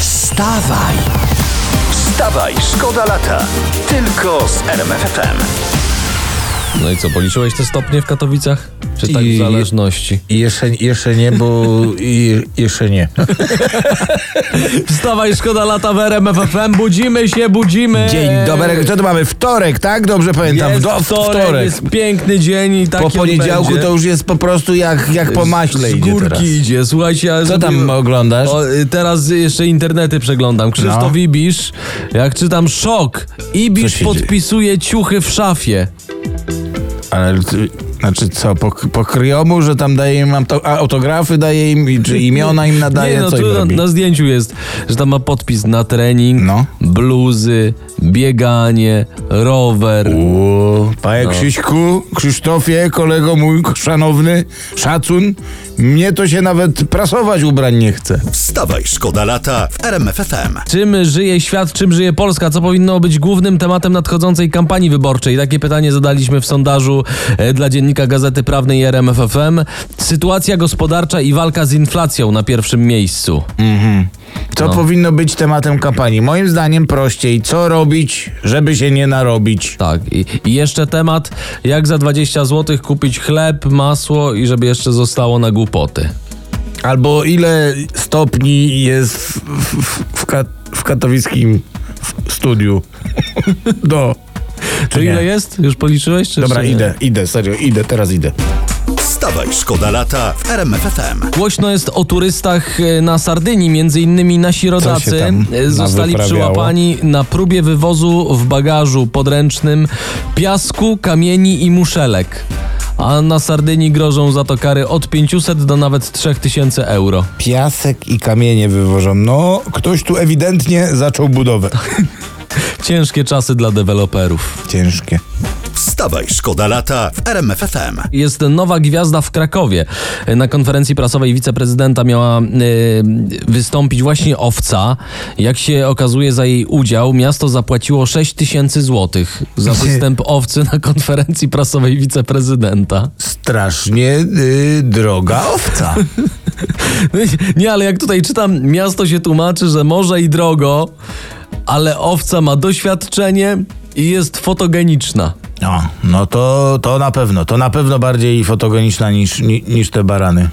Wstawaj! Wstawaj, szkoda lata! Tylko z RMFFM. No i co, policzyłeś te stopnie w Katowicach? Czy tak I- w zależności? I jeszcze, jeszcze nie, bo i, jeszcze nie. Wstawaj, szkoda lata w RMF FM. Budzimy się, budzimy. Dzień dobry, co to mamy? Wtorek, tak? Dobrze pamiętam. Jest Do, wtorek, wtorek. jest piękny dzień i taki Po on poniedziałku będzie. to już jest po prostu jak, jak po maśle Z idzie górki teraz. idzie, słuchajcie. Ja Co tam oglądasz? O, y, teraz jeszcze internety przeglądam. Krzysztof No. Ibisz, jak czytam, szok. Co Ibisz się podpisuje ciuchy w szafie. Ale ty- znaczy co, po, po kryjomu, że tam daje im auto, a, autografy, daje im, i- czy imiona im nadaje, Nie, no co im tu na, robi? na zdjęciu jest, że tam ma podpis na trening, No. bluzy, bieganie, rower. Uuu, panie Krzyśku, Krzysztofie, kolego mój szanowny, szacun, mnie to się nawet prasować ubrań nie chce. Wstawaj, szkoda lata w RMFFM. Czym żyje świat, czym żyje Polska? Co powinno być głównym tematem nadchodzącej kampanii wyborczej? Takie pytanie zadaliśmy w sondażu e, dla dziennika Gazety Prawnej i RMF FM. Sytuacja gospodarcza i walka z inflacją na pierwszym miejscu. Co powinno być tematem kampanii? Moim zdaniem prościej, co robić, żeby się nie narobić. Tak, i, i jeszcze temat, jak za 20 zł kupić chleb, masło i żeby jeszcze zostało na głupoty. Albo ile stopni jest w, w, w, ka- w katowickim w studiu. Do. Czy ile jest? Już policzyłeś? Czy Dobra, czy nie? idę, idę, serio, idę, teraz idę. Wstawaj, szkoda lata w RMFFM. Głośno jest o turystach e, na Sardynii, między innymi nasi rodacy tam e, zostali nawyprawiało? przyłapani na próbie wywozu w bagażu podręcznym piasku, kamieni i muszelek. A na Sardynii grożą za to kary od 500 do nawet 3000 euro. Piasek i kamienie wywożą. No, ktoś tu ewidentnie zaczął budowę. Ciężkie czasy dla deweloperów. Ciężkie. Wstawaj, szkoda lata w RMFFM. jest nowa gwiazda w Krakowie. Na konferencji prasowej wiceprezydenta miała y, wystąpić właśnie Owca. Jak się okazuje za jej udział, miasto zapłaciło 6 tysięcy złotych za występ Owcy na konferencji prasowej wiceprezydenta. Strasznie y, droga owca. No Nie, ale jak tutaj czytam, miasto się tłumaczy, że może i drogo, ale Owca ma doświadczenie i jest fotogeniczna. No, no to, to na pewno, to na pewno bardziej fotogeniczna niż, ni, niż te barany.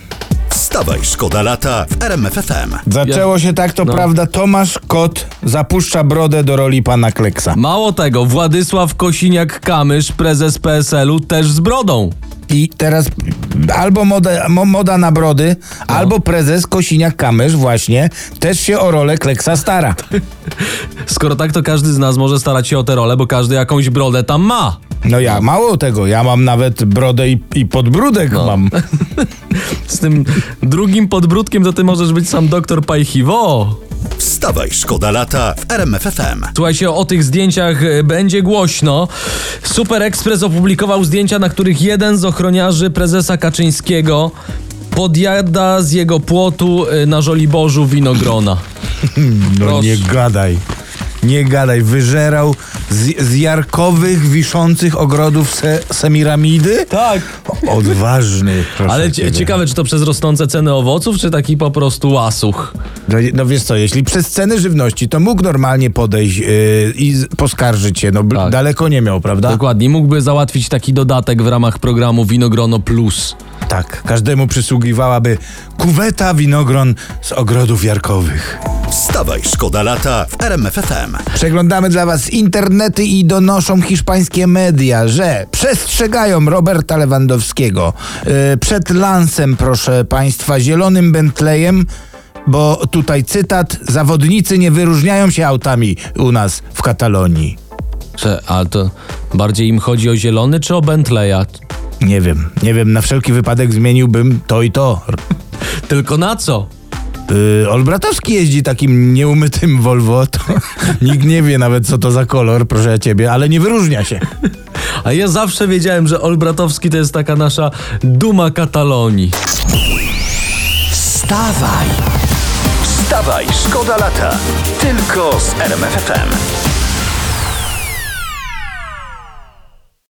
Wstawaj, szkoda lata w RMFFM. Zaczęło się tak, to no. prawda, Tomasz Kot zapuszcza brodę do roli pana Kleksa. Mało tego, Władysław Kosiniak-Kamysz, prezes PSL-u, też z brodą. I teraz albo moda, mo, moda na brody, No. albo prezes Kosiniak-Kamysz właśnie też się o rolę Kleksa stara. Skoro tak, to każdy z nas może starać się o tę rolę, bo każdy jakąś brodę tam ma. No ja mało tego, ja mam nawet brodę i, i podbródek No. mam. Z tym drugim podbródkiem to ty możesz być sam doktor Pajchiwo. Wstawaj, szkoda lata w RMFFM. Słuchajcie, o tych zdjęciach e, będzie głośno. Super Express opublikował zdjęcia, na których jeden z ochroniarzy prezesa Kaczyńskiego podjada z jego płotu e, na Żoliborzu winogrona. No Proszę. nie gadaj. Nie gadaj, wyżerał z, z jarkowych, wiszących ogrodów se, semiramidy? Tak. Odważny, proszę Ale cie- ciebie. ciekawe, czy to przez rosnące ceny owoców, czy taki po prostu łasuch. No, no wiesz co, jeśli przez ceny żywności, to mógł normalnie podejść yy, i z- poskarżyć się. No bl- Tak. daleko nie miał, prawda? Dokładnie, mógłby załatwić taki dodatek w ramach programu Winogrono Plus. Tak, każdemu przysługiwałaby kuweta winogron z ogrodów jarkowych. Wstawaj, szkoda lata w RMFFM. Przeglądamy dla Was internety i donoszą hiszpańskie media, że przestrzegają Roberta Lewandowskiego y, przed lansem, proszę Państwa, zielonym Bentleyem, bo tutaj cytat, zawodnicy nie wyróżniają się autami u nas w Katalonii. Prze- a to bardziej im chodzi o zielony czy o Bentleya? Nie wiem, nie wiem, na wszelki wypadek zmieniłbym to i to. Tylko na co? Yy, Olbratowski jeździ takim nieumytym Volvo, to nikt nie wie nawet co to za kolor, proszę ciebie, ale nie wyróżnia się. A ja zawsze wiedziałem, że Olbratowski to jest taka nasza duma Katalonii. Wstawaj! Wstawaj, szkoda lata! Tylko z RMFFM.